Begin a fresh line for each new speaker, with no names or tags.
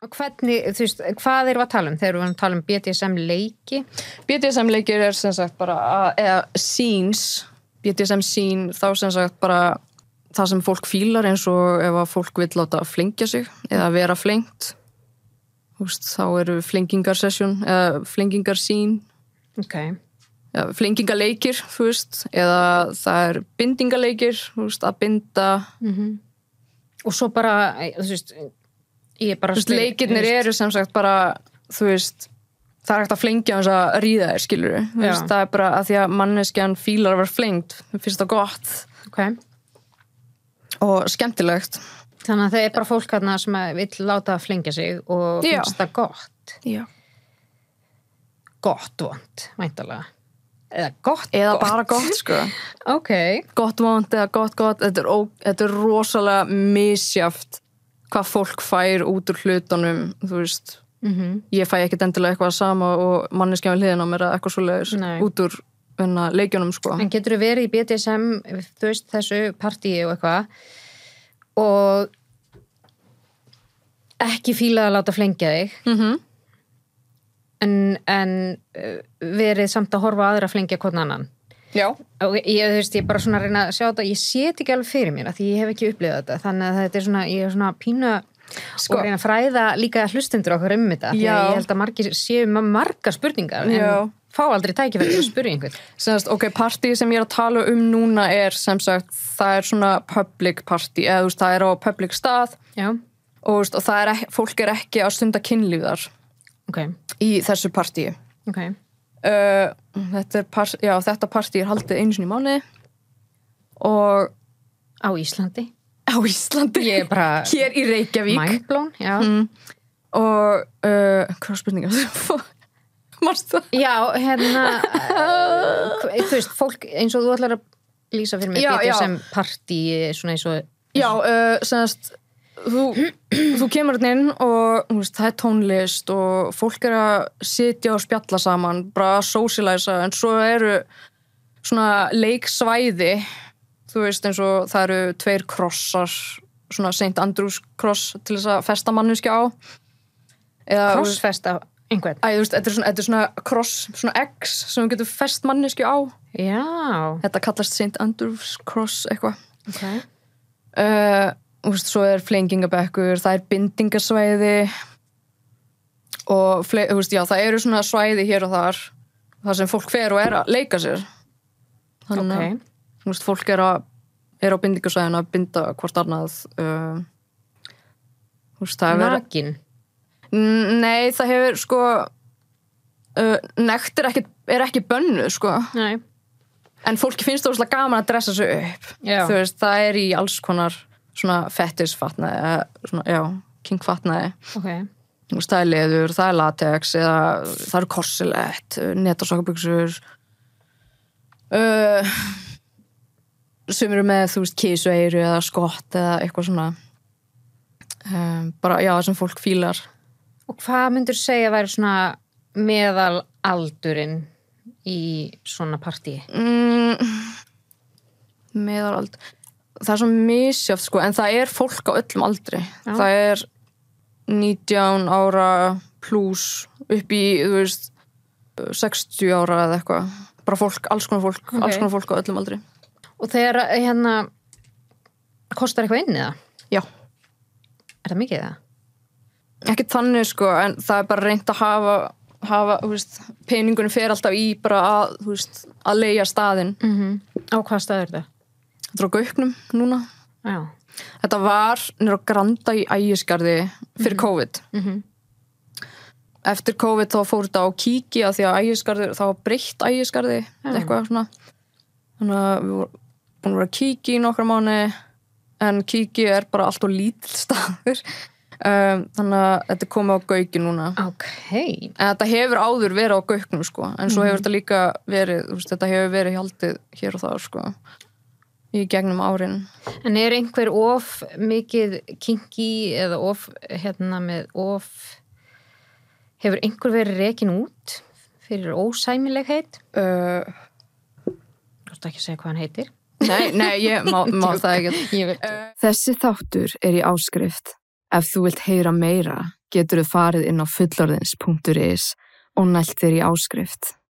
Og Hvernig, þú veist, hvað erum við að tala um? Þegar við erum að tala um BDSM leiki
BDSM leikir er sem sagt bara að- eða scenes, BDSM scene þá sem sagt bara það sem fólk fílar eins og ef að fólk vil láta flengja sig eða vera flengt Úst, þá eru flengingar session eða flengingar scene
Ok,
eða flengingaleikir þú veist, eða það er bindingaleikir þú veist, að binda
og svo bara, eh, þú veist ég er bara
Þú veist, leikirnir eru sem sagt bara þú veist, það er hægt að flengja hans að ríða þér, skilur
Já.
veist, það er bara að því að manneskjan fílar að vera flengd mér finnst það gott
Ok,
og skemmtilegt
þannig að það er bara fólk hérna sem að vill láta að flengja sig og
Já.
finnst það gott
Já.
gott vond, væntalega eða gott
eða
vont.
bara gott, sko
ok,
gott vond eða gott gott þetta er, ó, þetta er rosalega misjaft hvað fólk fær út úr hlutunum þú veist,
mm
ég fæ ekkit endilega eitthvað sama og manneskjan við hliðin á mér eða eitthvað svoleiðis
Nei.
út úr hérna, leikjunum, sko
en getur þú verið í BDSM þú veist þessu partíi og eitthvað og ekki fílað að láta flengja þig
mm
en, en uh, verið samt að horfa á aðra að flengja hvern annan
Já,
og ég, þú veist, ég er bara svona að reyna að sjá þetta ég set ekki alveg fyrir mér að því ég hef ekki upplifað þetta þannig að þetta er svona, ég er svona að pína
Sko.
og reyna að fræða líka hlustendur okkur um þetta, því að
Já.
ég held að margir séu með margar spurningar
Já.
en fá aldrei tækifæri til að spyrja einhvern
Semast, ok, partíð sem ég er að tala um núna er sem sagt, það er svona public party, eða þú veist, það er á public stað
Já,
og, þú veist, og það er ekki, fólk er ekki að stunda kynlífðar
ok,
í þessu partíu.
ok
Uh, þetta, er par, já, þetta partíð er haldið einu sinni í mánuði og
á Íslandi,
á Íslandi,
Ég er bara-
hér í Reykjavík
mindblown já.
Mm. og uh, hvað var spurninga? Marstu það?
já, hérna uh, þú veist, fólk eins og þú ætlar að lýsa fyrir mig
Já, já.
BDSM partí, svona eins og
Já, uh, semast þú, þú kemur hérna inn og þú veist, það er tónlist og fólk er að sitja og spjalla saman bara að socializa en svo eru svona leiksvæði þú veist eins og það eru tveir krossar svona St. Andrews kross til þess að festa manneskja á eða, þú veist,
crossfest af einhvern
Æ, þú veist, þetta er svona, þetta er svona kross, svona X sem þú getur fest manneskju á
Já,
þetta kallast St. Andrews kross eitthvað
ok
uh, úst, svo er flengingabekkur, það er bindingasvæði og fle, úst, já, það eru svona svæði hér og þar þar sem fólk fer og er að leika sér þannig
Ok,
að þú veist, fólk er, að, er á bindingasvæðinu að binda hvort annað uh, úst, það hefur verið-
nakin
N- nei, það hefur sko uh, nekt er ekki, er ekki bönnu sko
Nei,
en fólki finnst það óslega gaman að dressa sig upp
Já.
þú veist, það er í alls konar svona fettisfatnaði eða svona, já, kingfatnaði
ok
Þú veist, það er leður, það er latex eða það eru korsilett netasokkabuxur uh, sem eru með, þú veist, kísueiru eða skott eða eitthvað svona um, bara, já, það sem fólk fílar
Og hvað myndur segja að væri svona meðal aldurinn í svona partí?
mm, meðalald það er svo misjátt sko en það er fólk á öllum aldri
Já.
það er 19 ára pluss upp í þú veist, 60 ára eða eitthvað bara fólk, alls konar fólk,
Ok.
alls konar fólk á öllum aldri
Og þegar hérna kostar eitthvað inn eða?
já,
Er það mikið það?
ekki þannig sko en það er bara reynd að hafa hafa, þú veist, peningunum fer alltaf í bara að, þú veist, að leia staðinn
Mm -hmm. Á hvað staður það?
þetta er á gauknum núna
Já,
Þetta var nýra granda í ægisgarði fyrir COVID.
Mhm.
Eftir COVID þá fór þetta á kíki að því að ægisgarði, þá var breytt ægisgarði, eitthvað svona. Þannig að við vorum búin að vera að kíki í nokkra mánu en kíki er bara allt og lítill staður. Um, þannig að þetta er komið á gauki núna.
ok
En þetta hefur áður verið á gauknum sko, en svo
Mhm.
hefur þetta líka verið, þú veist, þetta hefur verið hjaldið hér og þar sko, í gegnum árin.
En er einhver of mikið kinky eða of hérna með of hefur einhver verið rekin út fyrir ósæmilegheit?
Uh,
Þú ætti ekki að segja hvað hann heitir.
Nei, nei, ég má, má það ekki. Eh,
Ég veit.
Þessi þáttur er í áskrift. Ef þú vilt heyra meira,
getur þú farið inn á fullorðins.is og nælt þér í áskrift.